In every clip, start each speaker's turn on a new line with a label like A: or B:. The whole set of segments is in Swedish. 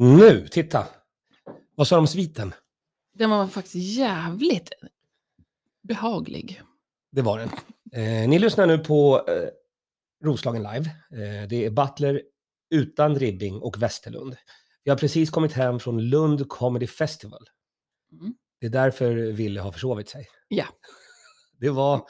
A: Nu, titta! Vad sa de om sviten?
B: Den var faktiskt jävligt behaglig.
A: Det var den. Eh, ni lyssnar nu på eh, Roslagen live. Eh, det är Butler utan Ribbing och Westerlund. Jag har precis kommit hem från Lund Comedy Festival.
B: Mm.
A: Det är därför Ville har försovit sig.
B: Ja.
A: Det var,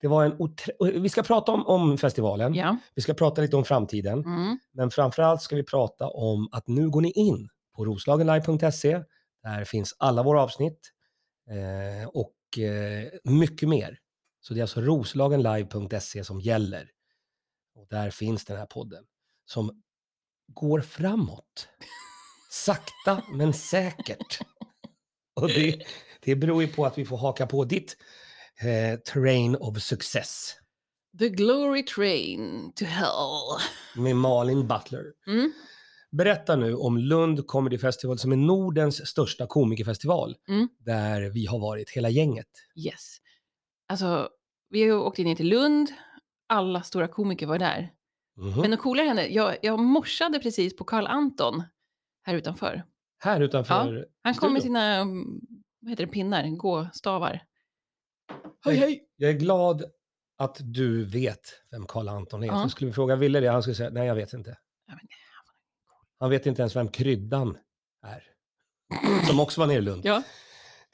A: det var en oträ... och Vi ska prata om, om festivalen.
B: Ja.
A: Vi ska prata lite om framtiden.
B: Mm.
A: Men framförallt ska vi prata om att nu går ni in på roslagenlive.se. Där finns alla våra avsnitt eh, och eh, mycket mer. Så det är alltså roslagenlive.se som gäller. Och där finns den här podden som går framåt. Sakta men säkert. Och det, det beror ju på att vi får haka på ditt eh, train of success
B: The glory train to hell.
A: med Malin Butler.
B: Mm.
A: Berätta nu om Lund Comedy Festival som är Nordens största komikerfestival.
B: Mm.
A: Där vi har varit hela gänget.
B: Yes. Alltså, vi åkte ner till Lund. Alla stora komiker var där.
A: Mhm.
B: Men det coola hände, jag, jag morsade precis på Karl Anton här utanför.
A: här utanför.
B: Han kom med
A: Studion.
B: sina, mm, vad heter det, pinnar, gåstavar. Hej hej!
A: Jag är glad att du vet vem Karl Anton är.
B: Ja.
A: Så skulle vi fråga Ville det, han skulle säga nej jag vet inte.
B: Ja, men-
A: Han vet inte ens vem Kryddan är. Som också var nere i Lund.
B: Ja.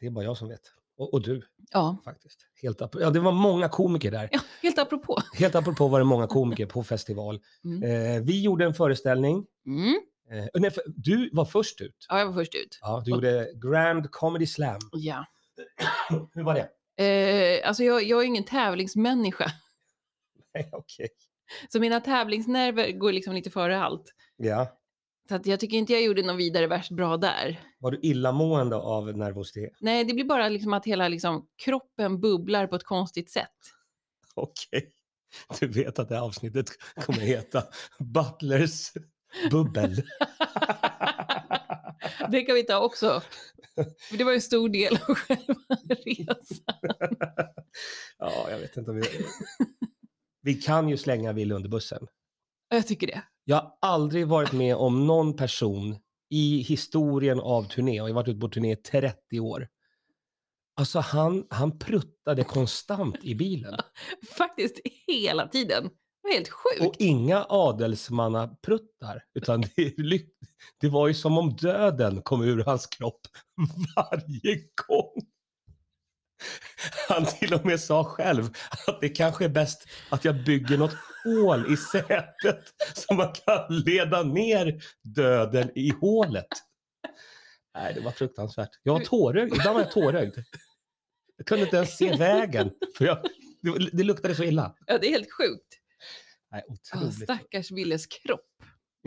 A: Det är bara jag som vet. Och, och du
B: Ja,
A: faktiskt. Helt ap- ja, det var många komiker där.
B: ja helt apropå.
A: Helt apropå var det många komiker på festival.
B: Mm.
A: Eh, vi gjorde en föreställning.
B: Mm.
A: Eh, nej, för, du var först ut.
B: Ja, jag var först ut.
A: Ja, du
B: Och-
A: gjorde Grand Comedy Slam.
B: Ja.
A: Hur var det?
B: Eh, alltså jag, jag är ingen tävlingsmänniska.
A: Nej, Okej.
B: Så mina tävlingsnerver går liksom lite före allt.
A: Ja.
B: Så att jag tycker inte jag gjorde någon vidare värst bra där.
A: Var du illamående av nervositet?
B: Nej, det blir bara liksom att hela liksom, kroppen bubblar på ett konstigt sätt.
A: Okej. Du vet att det här avsnittet kommer heta Butlers bubbel.
B: Det kan vi ta också. För Det var ju en stor del av själva resan.
A: ja, jag vet inte om vi... Vi kan ju slänga Wille under bussen.
B: Ja, Jag tycker det.
A: Jag har aldrig varit med om någon person i historien av turné, och jag har varit ute på turné i 30 år. Alltså han, han pruttade konstant i bilen.
B: Faktiskt hela tiden. Det var helt sjukt.
A: Och inga adelsmannapruttar, utan det, ly- det var ju som om döden kom ur hans kropp varje gång. Han till och med sa själv att det kanske är bäst att jag bygger något hål i sätet så man kan leda ner döden i hålet. Nej, det var fruktansvärt. Jag var tårögd. Ibland var jag tårögd. Jag kunde inte ens se vägen, för jag, det, det luktade så illa.
B: Ja, det är helt sjukt.
A: Nej,
B: Ja,
A: otroligt.
B: stackars Willes kropp.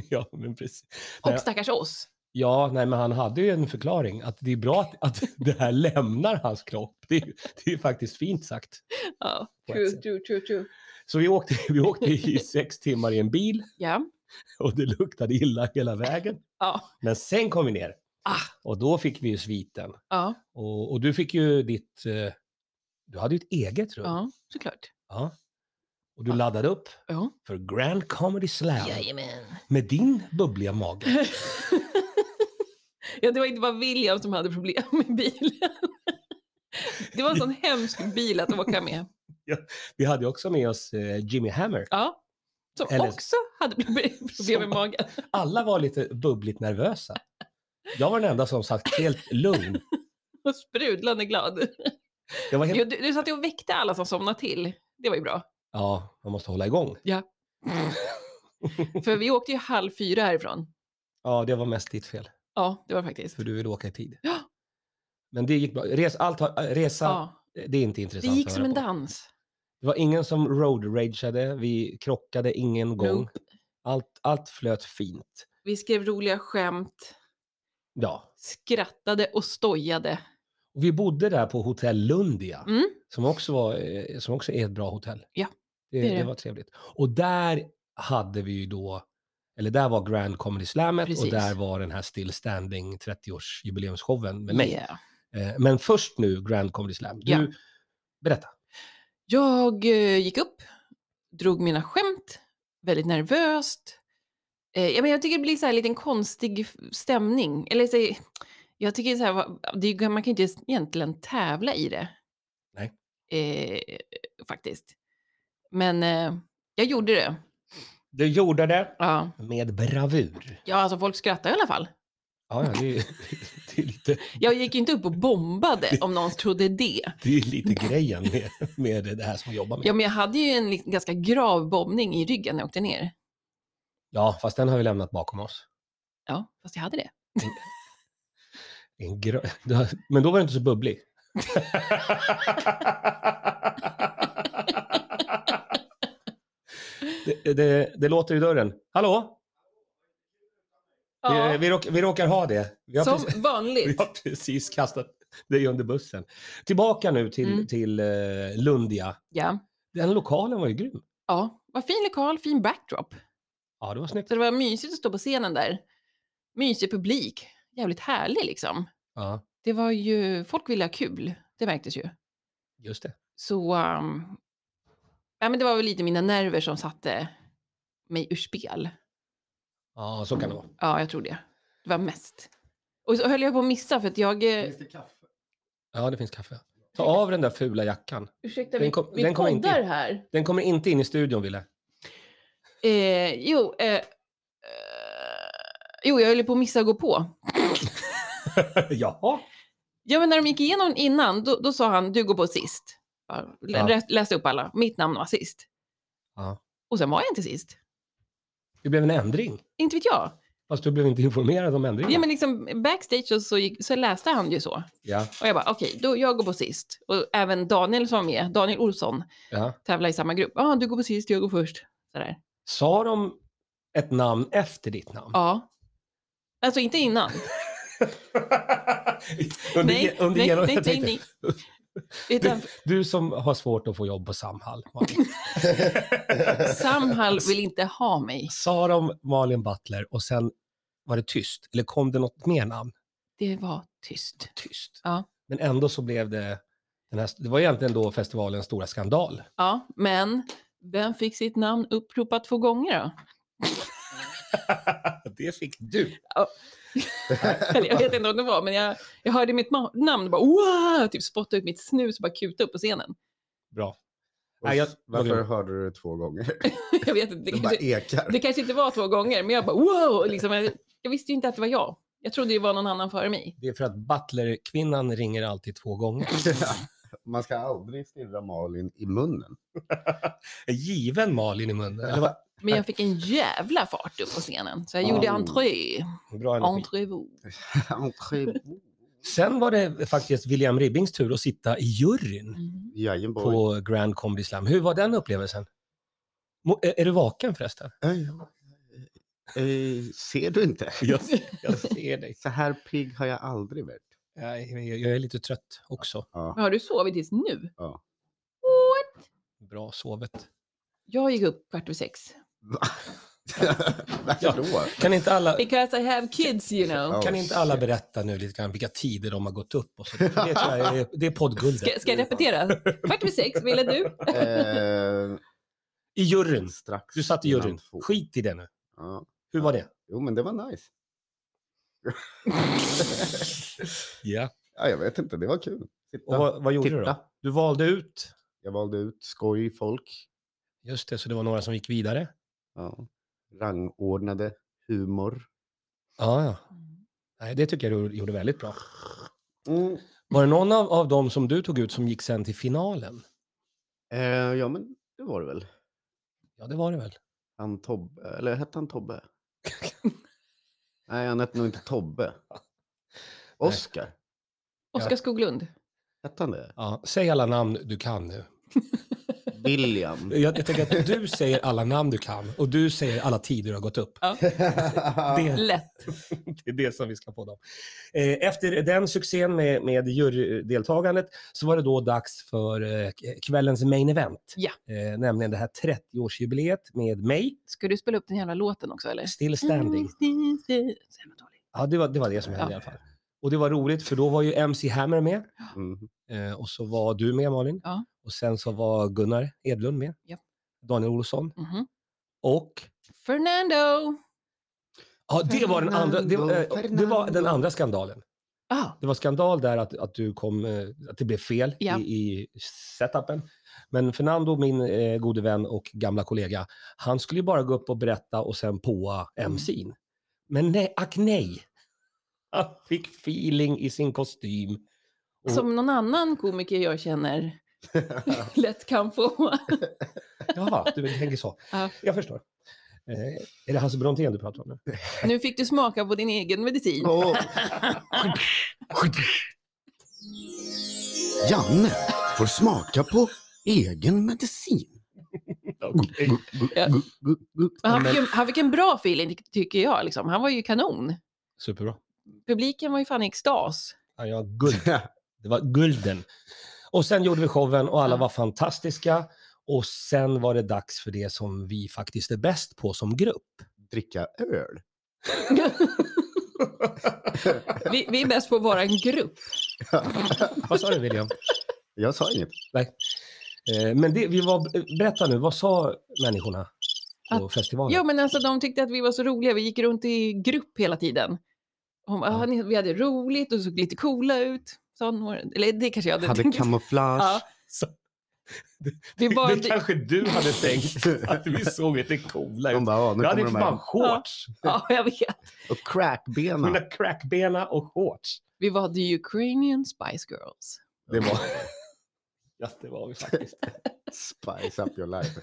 A: Ja, men precis. Nej.
B: Och stackars oss.
A: Ja, nej, men han hade ju en förklaring. Att det är bra att, att det här lämnar hans kropp. Det, är ju- det är ju faktiskt fint sagt.
B: Ja,
A: På ett
B: true,
A: sätt.
B: true, true, true.
A: Så vi åkte, vi åkte i sex timmar i en bil
B: Ja.
A: och det luktade illa hela vägen.
B: Ja.
A: Men sen kom vi ner
B: Ah.
A: och då fick vi ju sviten.
B: Ja,
A: Och, och du fick ju ditt... eh, Du hade ju ett eget rum.
B: ja såklart.
A: Ja. Och du laddade upp
B: Ja.
A: för Grand Comedy Slam
B: Jajamän.
A: med din bubbliga mage.
B: ja, det var inte bara William som hade problem med bilen. Det var en sån hemsk bil att åka med.
A: Vi hade ju också med oss eh, Jimmy Hammer.
B: Ja. Som
A: Eller-
B: också hade problem problem
A: Som-
B: med magen.
A: Alla var lite bubbligt nervösa. Jag var den enda som satt helt lugn.
B: Och sprudlande glad.
A: Jag var
B: Jo,
A: helt...
B: du, du satt ju och väckte alla som somnade till. Det var ju bra.
A: Ja, man måste hålla igång.
B: För vi åkte ju halv fyra härifrån.
A: Ja, det var mest ditt fel,
B: Ja, det var det faktiskt.
A: för du ville åka i tid.
B: Ja.
A: Men det gick bra. Res, allt har, äh, resa,
B: Ja,
A: det är inte
B: det
A: intressant
B: gick
A: att
B: som
A: höra
B: en
A: på.
B: dans.
A: Det var ingen som road-rageade, vi krockade ingen gång.
B: Nope.
A: Allt, allt flöt fint.
B: Vi skrev roliga skämt,
A: Ja.
B: skrattade och stojade.
A: Och vi bodde där på hotell Lundia,
B: Mm.
A: som, också var, eh, som också är ett bra hotell.
B: Ja,
A: det,
B: det är
A: det
B: det.
A: var trevligt. Och där hade vi ju då, eller där var Grand Comedy Slamet och
B: Precis.
A: där var den här Still Standing 30-årsjubileumsshowen med mig.
B: Yeah.
A: Eh, Men först nu Grand Comedy Slam. Du,
B: Ja.
A: Berätta.
B: Jag eh, gick upp, drog mina skämt, väldigt nervöst. Eh, ja, men jag tycker det blir så här en liten konstig f- stämning. Eller så, jag tycker så här, va- det är, ju- man kan ju inte egentligen tävla i det.
A: Nej.
B: Eh, faktiskt. Men eh, jag gjorde det.
A: Du gjorde det
B: Ja.
A: med bravur.
B: ja, alltså folk skrattade i alla fall.
A: Ja, ja, det, är, det, är lite,
B: Jag gick ju inte upp och bombade om någon trodde det.
A: det är lite grejen med, med det här som vi jobbar med.
B: Ja, men jag hade ju en li- ganska grav bombning i ryggen när jag åkte ner.
A: Ja, fast den har vi lämnat bakom oss.
B: Ja, fast jag hade det.
A: En grö... du har- Men då var det inte så bubblig. det, det, det låter i dörren. Hallå? Vi,
B: Ja,
A: vi, råkar, vi råkar ha det. Vi har, precis,
B: som
A: vi
B: vanligt.
A: har precis kastat dig under bussen. Tillbaka nu till,
B: Mm.
A: till eh, Lundia.
B: Ja.
A: Den lokalen var ju grym.
B: ja, vad fin lokal, fin backdrop.
A: Ja, det var snyggt.
B: Så det var mysigt att stå på scenen där. Mysig publik. Jävligt härlig liksom.
A: Ja,
B: Det var ju, folk ville ha kul. Det märktes ju.
A: just det.
B: Så, um, ja, men det var väl lite mina nerver som satte mig ur spel.
A: Ja, så kan det vara.
B: Ja, jag tror det. Det var mest. Och så höll jag på att missa för att jag... eh,
A: Ja, det finns kaffe. Ta av den där fula jackan.
B: Ursäkta,
A: Den
B: vi,
A: kom-
B: vi
A: den kom
B: poddar
A: inte in.
B: här.
A: Den kommer inte in i studion, Ville.
B: Eh, jo, eh, eh, jo, jag höll på att missa att gå på.
A: Jaha.
B: Ja, men när de gick igenom innan, då, då sa han du går på sist. Bara lä-
A: Ja.
B: rä- Läste upp alla, mitt namn var sist.
A: Ja.
B: Och sen var jag inte sist.
A: Det blev en ändring.
B: Inte vet jag.
A: Fast du blev inte informerad om ändringen.
B: Ja, men liksom backstage så, så, gick, så läste han ju så.
A: ja,
B: Och jag bara okej, då jag går på sist. Och även Daniel som var med, Daniel Olsson,
A: ja.
B: tävlar i samma grupp. Ja, du går på sist, jag går först. Sådär.
A: Sa de ett namn efter ditt namn?
B: Ja. Alltså inte innan.
A: under,
B: nej,
A: under
B: nej,
A: genom,
B: nej,
A: jag
B: nej,
A: tänkte,
B: nej. Utan
A: Du som har svårt att få jobb på Samhall. Malin.
B: Samhall vill inte ha mig.
A: Sa de Malin Butler och sen var det tyst? Eller kom det något mer namn?
B: Det var tyst.
A: Tyst.
B: Ja.
A: Men ändå så blev det... Den här, det var egentligen då festivalens stora skandal.
B: Ja, men vem fick sitt namn uppropat två gånger då?
A: det fick du.
B: Eller jag vet inte om det var, men jag, jag hörde mitt ma- namn och bara wow! Typ spottade ut mitt snus och bara kuta upp på scenen.
A: Bra.
C: Och
A: Nej, jag-
C: Varför
A: okej.
C: hörde du det två gånger?
B: jag vet inte, det
C: Det bara
B: kanske,
C: ekar.
B: det kanske inte var två gånger, men jag bara wow! Liksom, jag, jag visste ju inte att det var jag. Jag trodde det var någon annan före mig.
A: Det är för att Butler-kvinnan ringer alltid två gånger.
C: Man ska aldrig stirra Malin i munnen.
A: En given Malin i munnen. Eller vad?
B: Men jag fick en jävla fart upp på scenen, så jag gjorde
C: Oh.
B: entré.
A: Bra energi.
B: Entrevue.
A: Sen var det faktiskt William Ribbings tur att sitta i juryn
B: Mm.
C: Jajamboy.
A: på Grand Comedy Slam. Hur var den upplevelsen? Mo- Är är du vaken förresten?
C: Ser du inte?
A: Jag, ser dig.
C: Så här pigg har jag aldrig varit.
A: Jag är lite trött också.
C: Ja.
B: Men Har du sovit tills nu?
C: Ja.
B: What?
A: Bra sovet.
B: Jag gick upp kvart över sex.
A: Ja.
C: Varför då?
A: Kan inte alla,
B: Because I have kids you know.
C: Ja.
A: kan inte alla berätta nu lite grann vilka tider de har gått upp? Och så? Det, tror jag är, det är poddguldet.
B: Ska, ska jag repetera? Kvart över sex, ville du?
C: Eh,
A: I juryn.
C: strax
A: Du satt i
C: innan
A: juryn.
C: två.
A: Skit i det nu.
C: Ja.
A: Hur var det?
C: Jo, men det var nice.
A: Ja.
C: ja, jag vet inte, det var kul. Titta.
A: Och vad, vad gjorde du då?
C: Titta.
A: Du valde ut.
C: Jag valde ut skoj folk.
A: Just det, så det var några som gick vidare.
C: Ja. Rangordnade humor.
A: Ja, ja. Nej, det tycker jag du gjorde väldigt bra.
C: Mm.
A: Var det någon av, av dem som du tog ut som gick sen till finalen?
C: Eh, ja, men det var det väl.
A: Ja, det var det väl.
C: Han Tobbe, eller hette han Tobbe? Nej, han hette nog inte Tobbe. Oskar,
B: Oskar Skoglund.
C: hette han det?
A: Ja, säg alla namn du kan nu.
C: William.
A: Jag, jag tänker att du säger alla namn du kan och du säger alla tider du har gått upp. Det,
B: Lätt.
A: det är det som vi ska få dem. Eh, efter den succén med, med jurydeltagandet så var det då dags för eh, kvällens main event.
B: Ja.
A: Eh, nämligen det här 30-årsjubileet med mig,
B: Ska du spela upp den jävla låten också eller?
A: Still Standing.
B: Så jävla dålig.
A: Ja, det var det, var det som hände
B: Ja.
A: i alla fall. Och det var roligt för då var ju MC Hammer med.
C: Mm.
A: Eh, och så var du med Malin.
B: Ja.
A: Och sen så var Gunnar Edlund med.
B: Ja.
A: Daniel Olsson.
B: Mhm.
A: Och
B: Fernando!
A: Ja, det var den andra, det, var- eh, det var den
C: Fernando.
A: andra skandalen.
B: Ah,
A: Det var skandal där att, att, du kom, eh, att det blev fel
B: Ja.
A: i, i setupen. Men Fernando, min eh, gode vän och gamla kollega, han skulle ju bara gå upp och berätta och sen påa
B: Mm.
A: MC'n. Men nej, ack nej! Han fick feeling i sin kostym. Och-
B: som någon annan komiker jag känner lätt kan få.
A: Jaha, du tänker så.
B: Ja.
A: Jag förstår. Eh, är det Hasse Brontén du pratar om nu?
B: Nu fick du smaka på din egen medicin.
C: Och Janne får smaka på egen medicin. Mm.
A: Okej.
C: Gu- gu-
B: Ja.
C: gu- gu- gu-
B: Men han, fick en, han fick en bra feeling ty- tycker jag. Liksom. Han var ju kanon.
A: Superbra.
B: Publiken var ju fan i extas.
A: Ja, jag har guld. Det var gulden. Och sen gjorde vi showen och alla
B: Ja.
A: var fantastiska. Och sen var det dags för det som vi faktiskt är bäst på som grupp.
C: Dricka öl.
B: vi, vi är bäst på att vara en grupp.
A: Vad sa du William?
C: Jag sa inget.
A: Eh, Men det, vi var, berätta nu, vad sa människorna på festivalen?
B: Jo, men alltså de tyckte att vi var så roliga. Vi gick runt i grupp hela tiden. Hon, bara,
A: Ja.
B: "Ah, ni- vi hade roligt och såg lite coola ut. Sa några. Eller det kanske jag hade,
C: Hade
B: tänkt. Ja,
C: kamouflage.
B: vi var,
A: det kanske du hade tänkt, att vi såg lite coola ut.
C: De bara, "Ja, nu
A: Vi hade
C: kommer
A: ju
C: de
A: för
C: här.
A: fan shorts.
B: ja, jag vet.
C: Och crackbena.
A: Mina crackbena och shorts.
B: Vi var the Ukrainian Spice Girls.
C: Det var
A: Ja, det var vi faktiskt.
C: spice up your life.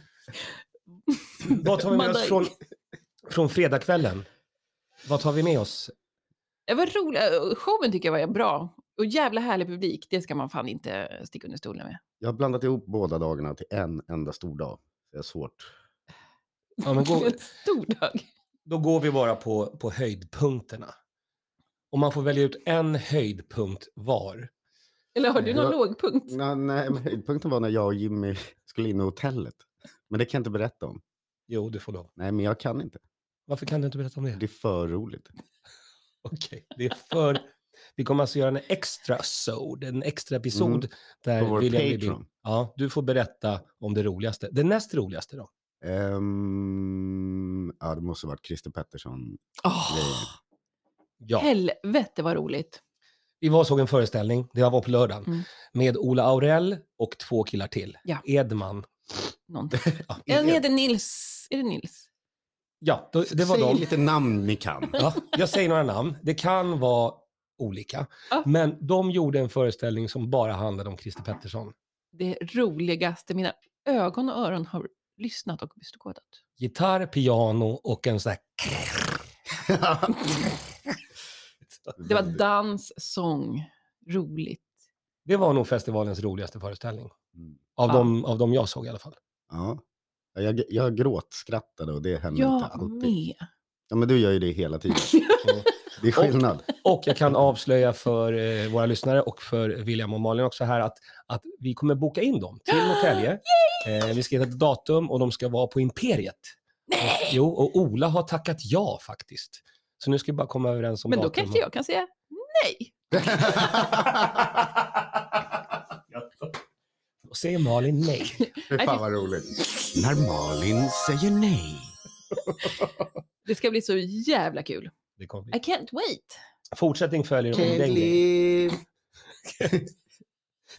A: Vad tar vi med
B: Manda-
A: oss från, från fredagskvällen? Vad tar vi med oss?
B: Det var roligt. Showen tycker jag var bra. Och jävla härlig publik. Det ska man fan inte sticka under stolen med.
C: Jag har blandat ihop båda dagarna till en enda stor dag. Det är svårt.
A: Ja, men gå-
B: En stor dag.
A: Då går vi bara på, på höjdpunkterna. Om man får välja ut en höjdpunkt var.
B: Eller har du någon
C: Ja.
B: lågpunkt?
C: Nej, nej, men höjdpunkten var när jag och Jimmy skulle in i hotellet. Men det kan jag inte berätta om.
A: Jo, du får lov.
C: Nej, men jag kan inte.
A: Varför kan du inte berätta om det?
C: Det är för roligt.
A: Okej, det är för... Vi kommer alltså göra en extra sod, en extra episod där
C: Mm. På vår
A: William Libby,
C: Patreon.
A: Ja, du får berätta om det roligaste. Det näst roligaste då?
C: Ehm, ja, det måste ha varit Christer Pettersson.
B: Åh,
A: Ja.
B: Helvete vad roligt.
A: Vi var och såg en föreställning, det var på lördagen,
B: Mm.
A: med Ola Aurell och två killar till.
B: Ja.
A: Edman.
B: Någonting.
A: Ja,
B: Den heter Nils. Är det Nils?
A: ja då, det var
C: Säg
A: de.
C: lite namn ni kan.
A: Ja, jag säger några namn. Det kan vara olika.
B: Ja.
A: Men de gjorde en föreställning som bara handlade om Christer Pettersson.
B: Det roligaste. Mina ögon och öron har lyssnat och beskådat.
A: Gitarr, piano och en sån här...
B: Det var dans, sång, roligt.
A: Det var nog festivalens roligaste föreställning.
C: Mm.
A: Av,
B: Ja.
A: de, av de jag såg i alla fall.
C: Ja. Ja, Jag, jag gråtskrattade och det händer inte
B: Jag
C: alltid.
B: med.
C: Ja, men du gör ju det hela tiden.
A: Mm.
C: Det är skillnad.
A: Och jag kan avslöja för eh, våra lyssnare och för William och Malin också här att, att vi kommer boka in dem till Norrtälje. Eh, vi ska hitta ett datum och de ska vara på Imperiet. Och, jo, och Ola har tackat ja faktiskt. Så nu ska vi bara komma överens om
B: Men då
A: datum.
B: kanske jag kan säga nej.
A: Och säger Malin nej.
C: Fy fan vad roligt. När Malin säger nej.
B: Det ska bli så jävla kul.
A: Det kommer
B: I
A: bli.
B: can't wait.
A: Fortsättning följer om den grejen.
C: Kelly.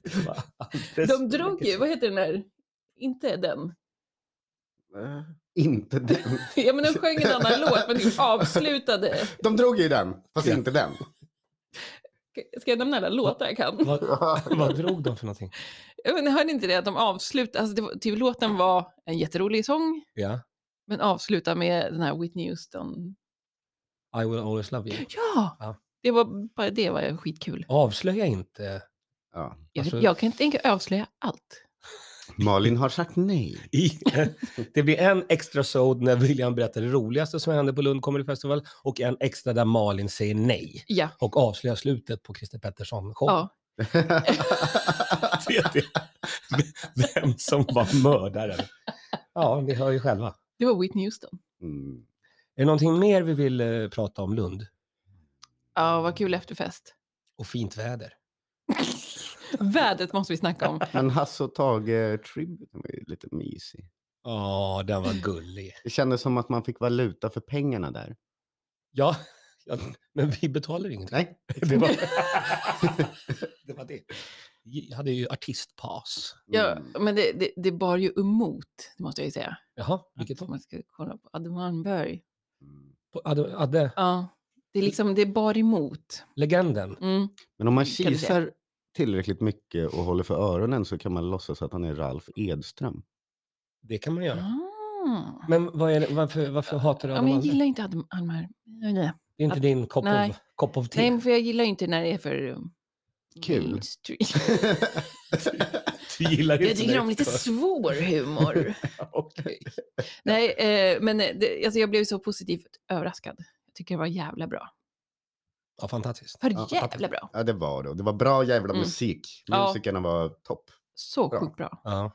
A: Det var alldeles
B: De
A: för
B: drog
A: mycket.
B: ju, vad heter den där? Inte den.
C: Eh, Inte den.
B: Ja, men de sjöng en annan låt, men de avslutade.
C: De drog ju den, fast
A: Ja.
C: inte den.
B: Ska jag nämna alla låtar jag kan?
A: Vad, vad drog de för någonting?
B: Ja, Men hörde inte det att de avslutade, alltså det var, typ, låten var en jätterolig sång,
A: Ja.
B: men avslutade med den här Whitney Houston.
A: I will always love you.
B: Ja!
A: Ja.
B: Det var bara det var skitkul.
A: Avslöja inte.
C: Ja.
B: Jag,
A: Alltså-
B: jag kan inte tänka avslöja allt.
C: Malin har sagt nej.
A: I, det blir en extra sod när William berättar det roligaste som hände på Lund Comedy Festival och en extra där Malin säger nej
B: Ja,
A: och avslöjar slutet på Christer Pettersson-show.
B: ja.
A: Vet ni Vem som var mördaren. Ja, ni hör ju själva.
B: det var Whitney Houston.
C: Mm.
A: Är det någonting mer vi vill eh, prata om Lund?
B: Ja, vad kul efterfest.
A: Och fint väder.
B: Vädret måste vi snacka om.
C: Men Hasse och Tage-tributen var ju lite mysig.
A: Ja, den var gullig.
C: Det kändes som att man fick valuta för pengarna där.
A: Ja, ja men vi betalar ingenting.
C: Nej.
A: Det var det. Var det. Jag hade ju artistpass.
B: Ja,
C: Mm.
B: men det, det, det bar ju emot, det måste jag ju säga.
A: Jaha, vilket
B: Att
A: då?
B: man ska kolla på Adde Malmberg.
C: Mm.
A: På- Adde, Adde,
B: Ja, det är liksom, det bar emot.
A: legenden.
B: Mm.
C: Men om man
B: Kan du säga.
C: kisar tillräckligt mycket och håller för öronen så kan man låtsas att han är Ralf Edström.
A: Det kan man göra.
B: Ah.
A: Men vad är det, varför, varför hatar du
B: Ja,
A: Adam
B: men jag
A: Alde?
B: gillar inte Adde Malmberg. Nej, nej.
A: Det är inte din kopp av,
B: Nej.
A: kopp av te?
B: nej, men för jag gillar ju inte när det är för um,
C: Kul.
B: mainstream.
A: Du gillar
B: Jag
A: inte
B: tycker
A: när
B: om
A: det
B: lite
A: är för-
B: svår humor.
A: Okej.
B: nej, eh, men det, alltså jag blev så positivt överraskad. Jag tycker det var jävla bra.
A: Ja, fantastiskt.
B: För
C: Ja,
B: jävla bra.
C: ja, det var det. Det var bra jävla
B: Mm.
C: musik.
B: Ja.
C: Musikerna var topp.
B: Så
C: Bra.
B: sjukt bra.
A: Ja.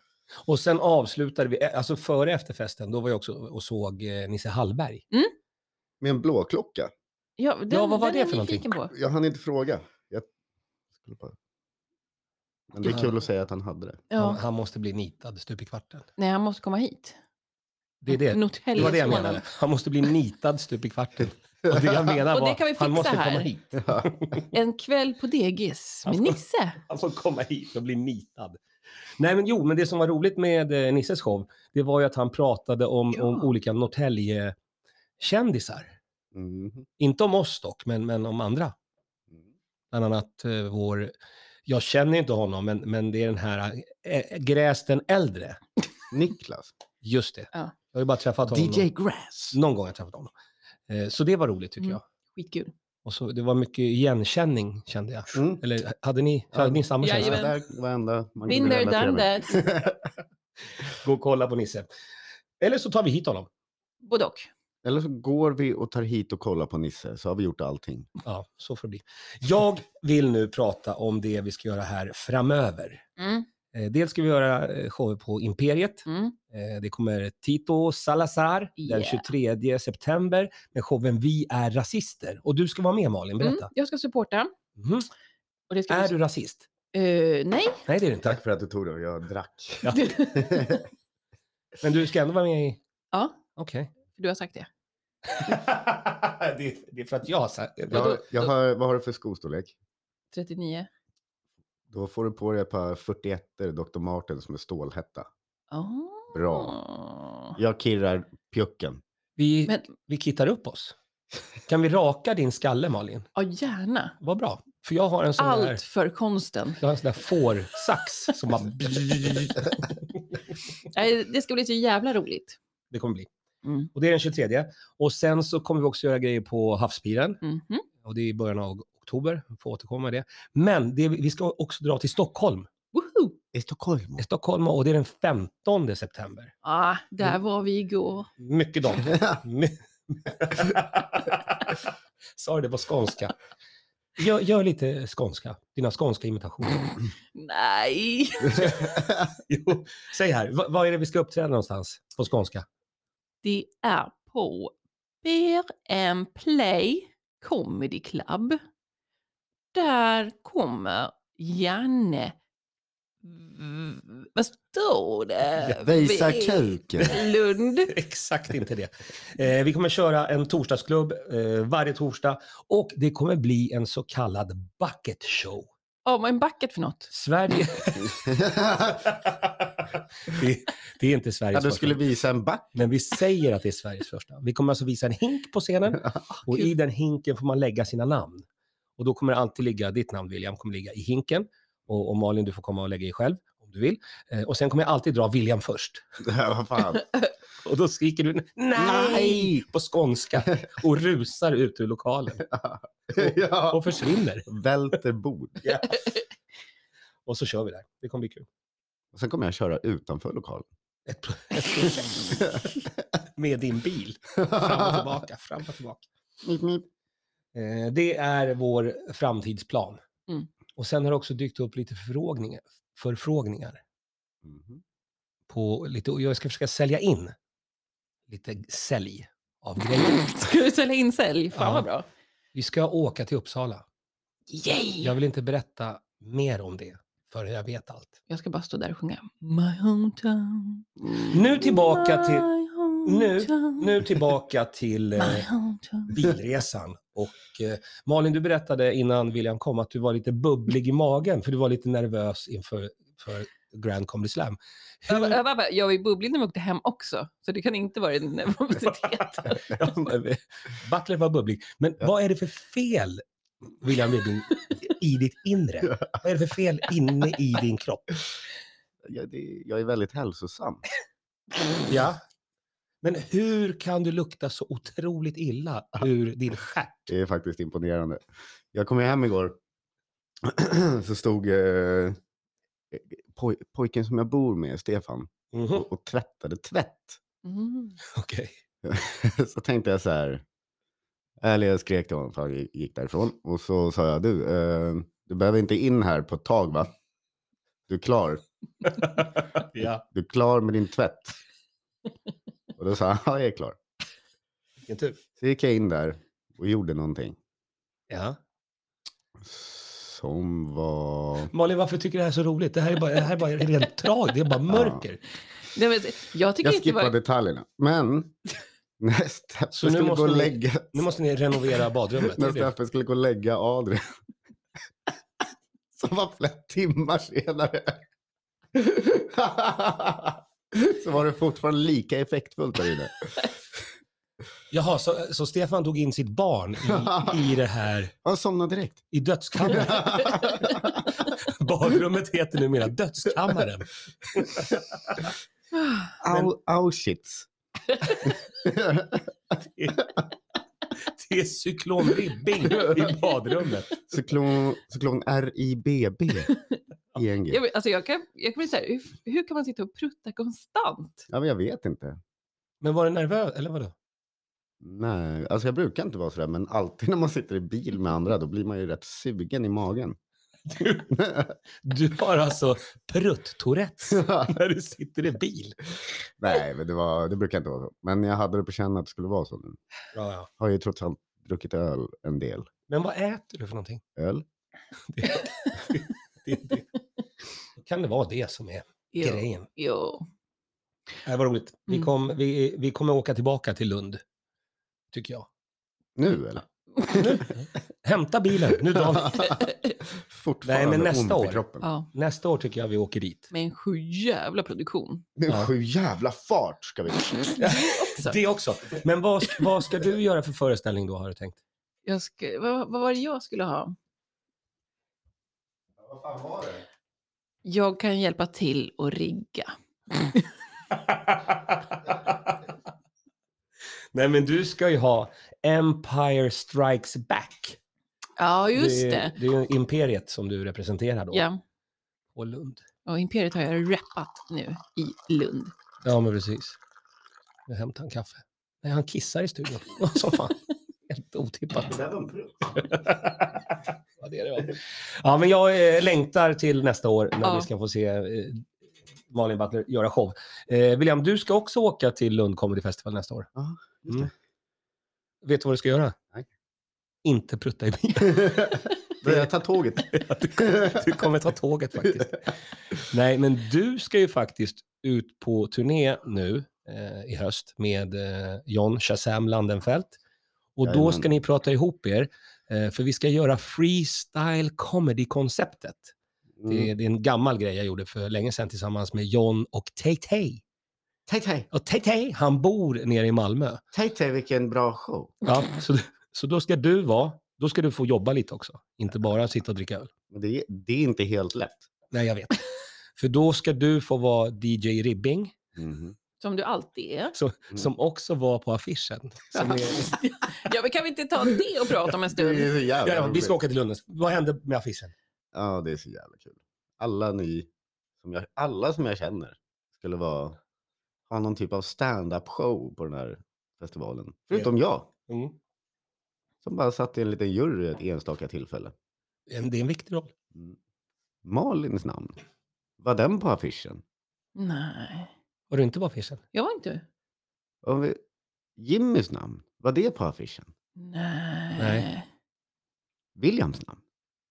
A: Och sen avslutade vi, alltså före efterfesten, då var jag också och såg eh, Nisse Hallberg.
C: Med en blåklocka.
B: Ja, den,
A: vad var
B: den
A: det
B: är jag
A: för någonting?
B: nyfiken På.
C: Jag hann inte fråga. Jag... skulle bara- Men det är kul att säga att han hade det.
B: Ja.
A: Han, han måste bli nitad stup i kvarten.
B: Nej, han måste komma hit.
A: Det är det. Det var det jag menade. Han måste bli nitad stup i kvarten. Och det jag menar
B: Och det
A: var,
B: kan vi
A: han
B: fixa
A: måste
B: här.
A: komma hit.
B: En kväll på Degis med
A: Han får-
B: Nisse.
A: Han får komma hit och bli nitad. Nej, men jo, men det som var roligt med eh, Nisses show, det var ju att han pratade om,
B: Ja.
A: om olika Norrtälje-kändisar.
C: Mm.
A: Inte om oss dock, men, men om andra.
C: Mm.
A: Bland annat eh, vår, jag känner inte honom, men, men det är den här eh, Gräs den äldre.
C: Niklas.
A: Just det.
B: Ja.
A: Jag har ju bara träffat honom.
C: DJ Grass.
A: Någon gång har jag träffat honom. Eh, Så det var roligt tycker
B: Mm.
A: jag.
B: Skitkul.
A: Och så, det var mycket igenkänning kände jag.
C: Mm.
A: Eller hade ni,
C: Ja.
A: hade ni samma känsla?
B: Jajamän.
C: Ja, där var enda man
B: Been
C: kunde
B: there,
C: relatera
B: done
C: med.
B: that.
A: Gå och kolla på Nisse. Eller så tar vi hit honom.
B: Både och.
C: Eller så går vi och tar hit och kollar på Nisse så har vi gjort allting.
A: Ja, så får det bli. Jag vill nu prata om det vi ska göra här framöver.
B: Mm,
A: Eh, Dels ska vi göra eh, shower på Imperiet.
B: mm.
A: Eh, Det kommer Tito Salazar den
B: Yeah.
A: 23 september med showen Vi är rasister. Och du ska vara med Malin,
B: Mm.
A: berätta.
B: Jag ska supporta.
A: Mhm.
B: Och det ska
A: Är
B: vi-
A: du rasist?
B: Eh, nej.
A: Nej, det är du inte.
C: Tack för att du tog det, jag drack.
A: Ja. Men du ska ändå vara med i...
B: ja,
A: Okej.
B: du har sagt det.
A: det, är- det är för att jag har sagt det.
C: jag, jag har, vad har du för skostorlek?
B: 39.
C: Då får du på dig ett par 41 Dr. Martens med stålhätta.
B: Oh.
C: Bra. Jag kirrar pjucken.
A: Vi,
B: Men
A: vi kittar upp oss. Kan vi raka din skalle, Malin?
B: ja, gärna.
A: Vad bra. För jag har en sån där...
B: Allt för konsten.
A: Jag har en sån där fårsax som bara...
B: Nej, det ska bli så jävla roligt.
A: Det kommer bli.
B: Mm.
A: Och det är den 23. Och sen så kommer vi också göra grejer på havspiren.
B: Mhm.
A: Och det är i början av oktober. Vi får återkomma med det. Men det, vi ska också dra till Stockholm.
B: Woho!
C: I Stockholm.
A: Stockholm och det är den 15 september.
B: Ah,
A: Mm.
B: där var vi igår.
A: Mycket dem. My- Sa du det på skånska? Gör, gör lite skånska. Dina skånska imitationer.
B: Nej.
A: Jo, säg här, vad, vad är det vi ska uppträda någonstans på skånska?
B: Det är på BRM Play Comedy Club. Där kommer Janne... V- Vad står det?
C: Visa
B: V-
C: kuken.
B: Lund.
A: Exakt inte det. Eh, vi kommer köra en torsdagsklubb eh, varje torsdag och det kommer bli en så kallad bucket show.
B: Ja, men en bucket för något.
A: Sverige... det, det är inte
C: ja,
A: Sveriges
C: du
A: första,
C: skulle visa en back.
A: men vi säger att det är Sveriges första. Vi kommer alltså visa en hink på scenen och i den hinken får man lägga sina namn. Och då kommer det alltid ligga, ditt namn William kommer ligga i hinken och, och Malin du får komma och lägga i själv om du vill. Eh, och sen kommer jag alltid dra William först.
C: Vad fan.
A: Och då skriker du nej
C: Nej!
A: på skånska och rusar ut ur lokalen
C: ja.
A: och försvinner.
C: Välter bord.
A: Och så kör vi där. Det kommer bli kul.
C: Och sen kommer jag köra utanför lokalen.
A: Ett, ett med din bil. Fram och tillbaka, fram och tillbaka.
C: Mip, mip.
A: Eh, det är vår framtidsplan.
B: Mm.
A: Och sen har det också dykt upp lite förfrågningar, förfrågningar.
C: Mhm.
A: På lite, och jag ska försöka sälja in lite sälj av grejer.
B: Ska du sälja in sälj? Fan
A: Ja.
B: vad bra.
A: Vi ska åka till Uppsala.
B: Yay!
A: Jag vill inte berätta mer om det. förrän jag vet allt.
B: Jag ska bara stå där och sjunga. My hometown.
A: Nu tillbaka till,
B: my hometown,
A: nu tillbaka till eh,
B: My hometown.
A: bilresan. Och eh, Malin, du berättade innan William kom att du var lite bubblig i magen för du var lite nervös inför för Grand Comedy Slam.
B: Jag, var-
A: Hur,
B: jag, var- jag var i bubblan när vi åkte hem också, så det kan inte vara en nervositet.
A: Butler var bubblig. Men
C: Ja.
A: vad är det för fel, William Ryding, i ditt inre? Vad är det för fel inne i din kropp?
C: Jag, det, jag är väldigt hälsosam.
A: Ja. Men hur kan du lukta så otroligt illa ur din stjärt?
C: Det är faktiskt imponerande. Jag kom ju hem igår. så stod eh, poj- pojken som jag bor med, Stefan,
A: Mhm,
C: och, och tvättade tvätt.
B: Mm.
A: Okej.
C: så tänkte jag så här. Eller jag skrek till honom för han gick därifrån. Och så sa jag, du, eh, du behöver inte in här på ett tag va? Du är klar.
A: Ja,
C: Du är klar med din tvätt. Och då sa han, ja jag är klar.
A: vilken tur.
C: Så gick jag in där och gjorde någonting.
A: Ja.
C: Som var...
A: Malin, varför tycker du det här är så roligt? Det här är bara, det här är bara rent tragiskt, det är bara mörker.
B: Nej, men jag tycker
C: Jag
B: inte det
C: skippar
B: var...
C: detaljerna. Men när Steffe
A: Så nu
C: skulle
A: måste
C: gå och
A: ni-
C: lägga...
A: Nu måste ni renovera badrummet. det
C: När
A: är det.
C: Steffe skulle gå och lägga Adrian. Som var flera timmar senare. Så var det fortfarande lika effektfullt där inne.
A: Jaha, så, så Stefan tog in sitt barn i, i det här,
C: Jag somnade direkt.
A: i dödskammaren. Badrummet heter numera dödskammaren.
C: Au, Auschwitz.
A: Det är cyklon Ribbing i badrummet.
C: Cyklon, cyklon RIBB. ING.
B: Jag, alltså jag kan, jag kan bli så här, hur, hur kan man sitta och prutta konstant?
C: Ja, men jag vet inte.
A: Men var du nervös, eller vadå?
C: Nej, alltså jag brukar inte vara sådär, men alltid när man sitter i bil med andra, då blir man ju rätt sugen i magen.
A: Du har alltså prutt-tourettes när du sitter i bil.
C: Nej, men det, var, det brukar inte vara så. Men jag hade det på känn att det skulle vara så nu.
A: Ja, ja.
C: Har ju trots allt druckit öl en del.
A: Men vad äter du för någonting?
C: Öl?
A: Det, det. Kan det vara det som är
B: Jo.
A: grejen?
B: jo.
A: Det var Äh, roligt. Vi,
B: Mm.
A: kom, vi, vi kommer åka tillbaka till Lund, tycker jag.
C: Nu eller?
B: Mm.
A: Nu, hämta bilen, nu drar vi.
C: Fortfarande
A: Nej, men nästa
C: ont i
A: år.
C: kroppen.
B: Ja,
A: Nästa år tycker jag vi åker dit.
B: med en sjujävla produktion.
C: Nu
A: Ja.
C: sju jävla fart ska vi.
B: Också.
A: Det också. Men vad, sk- vad ska du göra för föreställning då, har du tänkt?
B: Jag ska, vad, vad var det jag skulle ha?
C: Vad fan var det?
B: Jag kan hjälpa till och rigga.
A: Nej, men du ska ju ha Empire Strikes Back.
B: Ja, just
A: det.
B: det.
A: är- det är ju imperiet som du representerar då,
B: Ja.
A: på Lund.
B: Och Imperiet har jag rappat nu i Lund.
A: Ja, men precis. Nu hämtar han kaffe. Nej, han kissar i studion. Vad som fan. Helt otippat.
C: där var en prutt.
A: Ja, det är det verkligen. ja, men jag eh, längtar till nästa år när
B: Ja.
A: vi ska få se eh, Malin Butler göra show. Eh, William, du ska också åka till Lund Comedy Festival nästa år.
C: Ja, just det.
A: Mm. Vet du vad du ska göra?
C: Nej.
A: Inte prutta i bilen.
C: Börja ta tåget.
A: Du kommer ta tåget faktiskt. Nej, men du ska ju faktiskt ut på turné nu eh, i höst med eh, John Shazam Landenfelt. Och då
C: Jajamän.
A: ska ni prata ihop er, eh, för vi ska göra freestyle comedy-konceptet.
C: Mm.
A: Det, är- det är en gammal grej jag gjorde för länge sedan tillsammans med John och Tay-Tay.
C: Tej, tej,
A: Och Tay-Tay, han bor nere i Malmö.
C: tej, tej, vilken bra show.
A: Ja, så, så då ska du vara, då ska du få jobba lite också, inte bara sitta och dricka öl.
C: Men det, är- det är inte helt lätt.
A: Nej, jag vet. För då ska du få vara DJ Ribbing,
B: Som du alltid är.
A: så,
C: Mm.
A: Mhm. som också var på affischen. Som är,
B: Ja, men kan vi inte ta det och prata om en
C: Det
B: stund?
C: är så jävla
A: ja, vi
C: roligt.
A: ska åka till Lund. Vad hände med affischen?
C: Ja, det är så jävla kul. Alla ni, som jag, alla som jag känner skulle vara, ha någon typ av stand-up show på den här festivalen. Förutom jag,
A: Mm.
C: som bara satt i en liten jury ett enstaka tillfälle.
A: En- Det är en viktig roll.
C: Malins namn, var den på affischen?
B: Nej,
A: Var du inte på affischen?
B: jag var inte.
C: Och vi- Jimmys namn, var det på affischen?
B: Nej.
A: Nej.
C: Williams namn,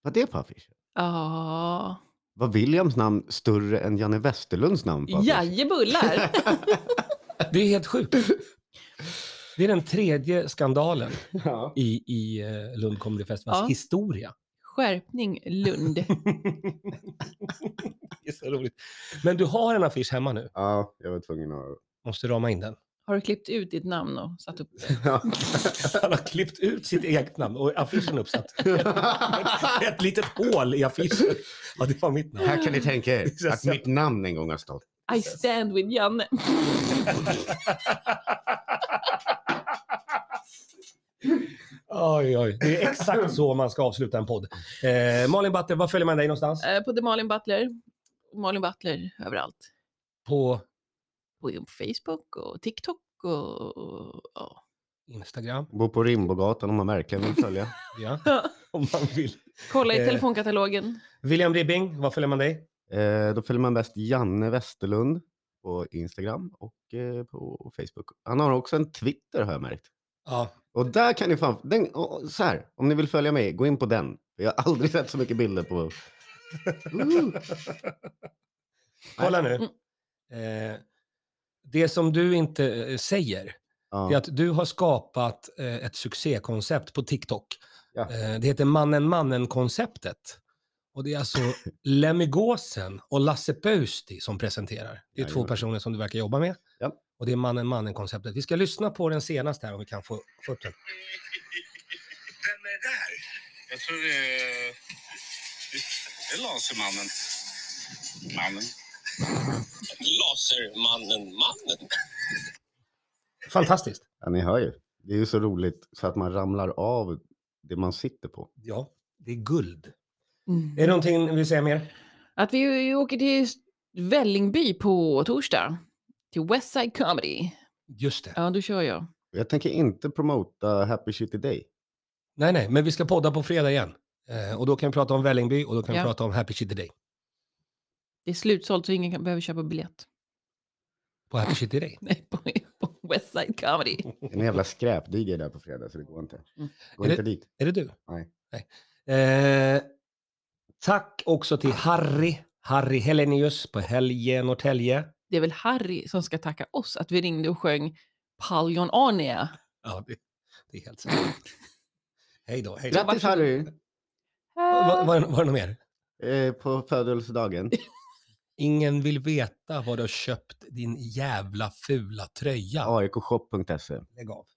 C: var det på affischen?
B: Ja,
C: Var Williams namn större än Janne Westerlunds namn? på affischen?
B: Jajebullar!
A: Det är helt sjukt. Det är den tredje skandalen
C: ja.
A: i, i eh, Lund Comedy Festivals
B: Ja.
A: historia.
B: Skärpning Lund.
A: Det är så roligt. Men du har en affisch hemma nu.
C: ja, jag var tvungen att...
A: Måste rama in den.
B: Har du klippt ut ditt namn och satt upp det?
C: Ja.
A: Han har klippt ut sitt eget namn och affischen uppsatt. Ett litet hål i affischen. Ja, det var mitt namn.
C: Här kan ni tänka
A: Det är så
C: er att
A: sant.
C: mitt namn en gång har stått.
B: I stand with Janne.
A: Oj, oj. Det är exakt så man ska avsluta en podd. Eh, Malin Batter, var följer man dig någonstans?
B: Eh, På The Malin Butler. Malin Butler överallt.
A: På
B: På Facebook och TikTok och... och ja.
A: Instagram,
C: Bor på Rimbogatan om man verkligen vill följa.
A: ja. Om man vill.
B: Kolla i
A: Eh.
B: telefonkatalogen.
A: William Ribbing, var följer man dig?
C: Eh, då följer man bäst Janne Westerlund på Instagram och eh, på Facebook. Han har också en Twitter har jag märkt.
A: Ja,
C: Och där kan ni fan... Den, och- och så här, om ni vill följa mig, gå in på den. Jag har aldrig sett så mycket bilder på... Uh,
A: kolla nu. Eh, det som du inte eh, säger, det är
C: ja.
A: att du har skapat eh, ett succékoncept på TikTok.
C: Ja.
A: Eh, det heter Mannen Mannen-konceptet. Och det är alltså Lemmy Gåsen och Lasse Pöysti som presenterar. Det är två
C: Jajamän.
A: personer som du verkar jobba med.
C: Ja.
A: Och det är Mannen Mannen-konceptet. Vi ska lyssna på den senaste här om vi kan få, få upp den.
D: Vem är där? Jag tror det är... Det är Lasermannen. Mannen. Lasermannen, mannen.
A: Fantastiskt.
C: ja, ni hör ju. Det är ju så roligt så att man ramlar av det man sitter på.
A: Ja, det är guld.
B: Mm.
A: Är det någonting ni vill säga mer?
B: Att vi åker till Vällingby på torsdag. Till Westside Comedy.
A: Just det.
B: Ja, då kör jag.
C: Jag tänker inte promota Happy Shitty Day.
A: Nej, nej, men vi ska podda på fredag igen. Eh, och då kan vi prata om Vällingby och då kan
B: Ja.
A: vi prata om Happy Shitty Day.
B: Det är slutsålt så ingen kan, behöver köpa biljett.
A: På Happy Shitty Day.
B: Nej, på, på Westside Comedy.
C: Det är en jävla skräpdigel där på fredag så det går inte.
B: Mm.
C: Gå
A: Är det-
C: inte dit.
A: Är det du?
C: Nej.
A: Nej. Eh, tack också till Harry, Harry Helenius på Helge Norrtälje.
B: Det är väl Harry som ska tacka oss att vi ringde och sjöng Paljon Arnia.
A: Ja, det, det är helt sant. Hej då. Hej då.
C: Grattis Harry!
A: Var, var, var det något mer?
C: Eh, på födelsedagen.
A: Ingen vill veta var du har köpt din jävla fula tröja.
C: AIKshop.se.
A: Lägg av.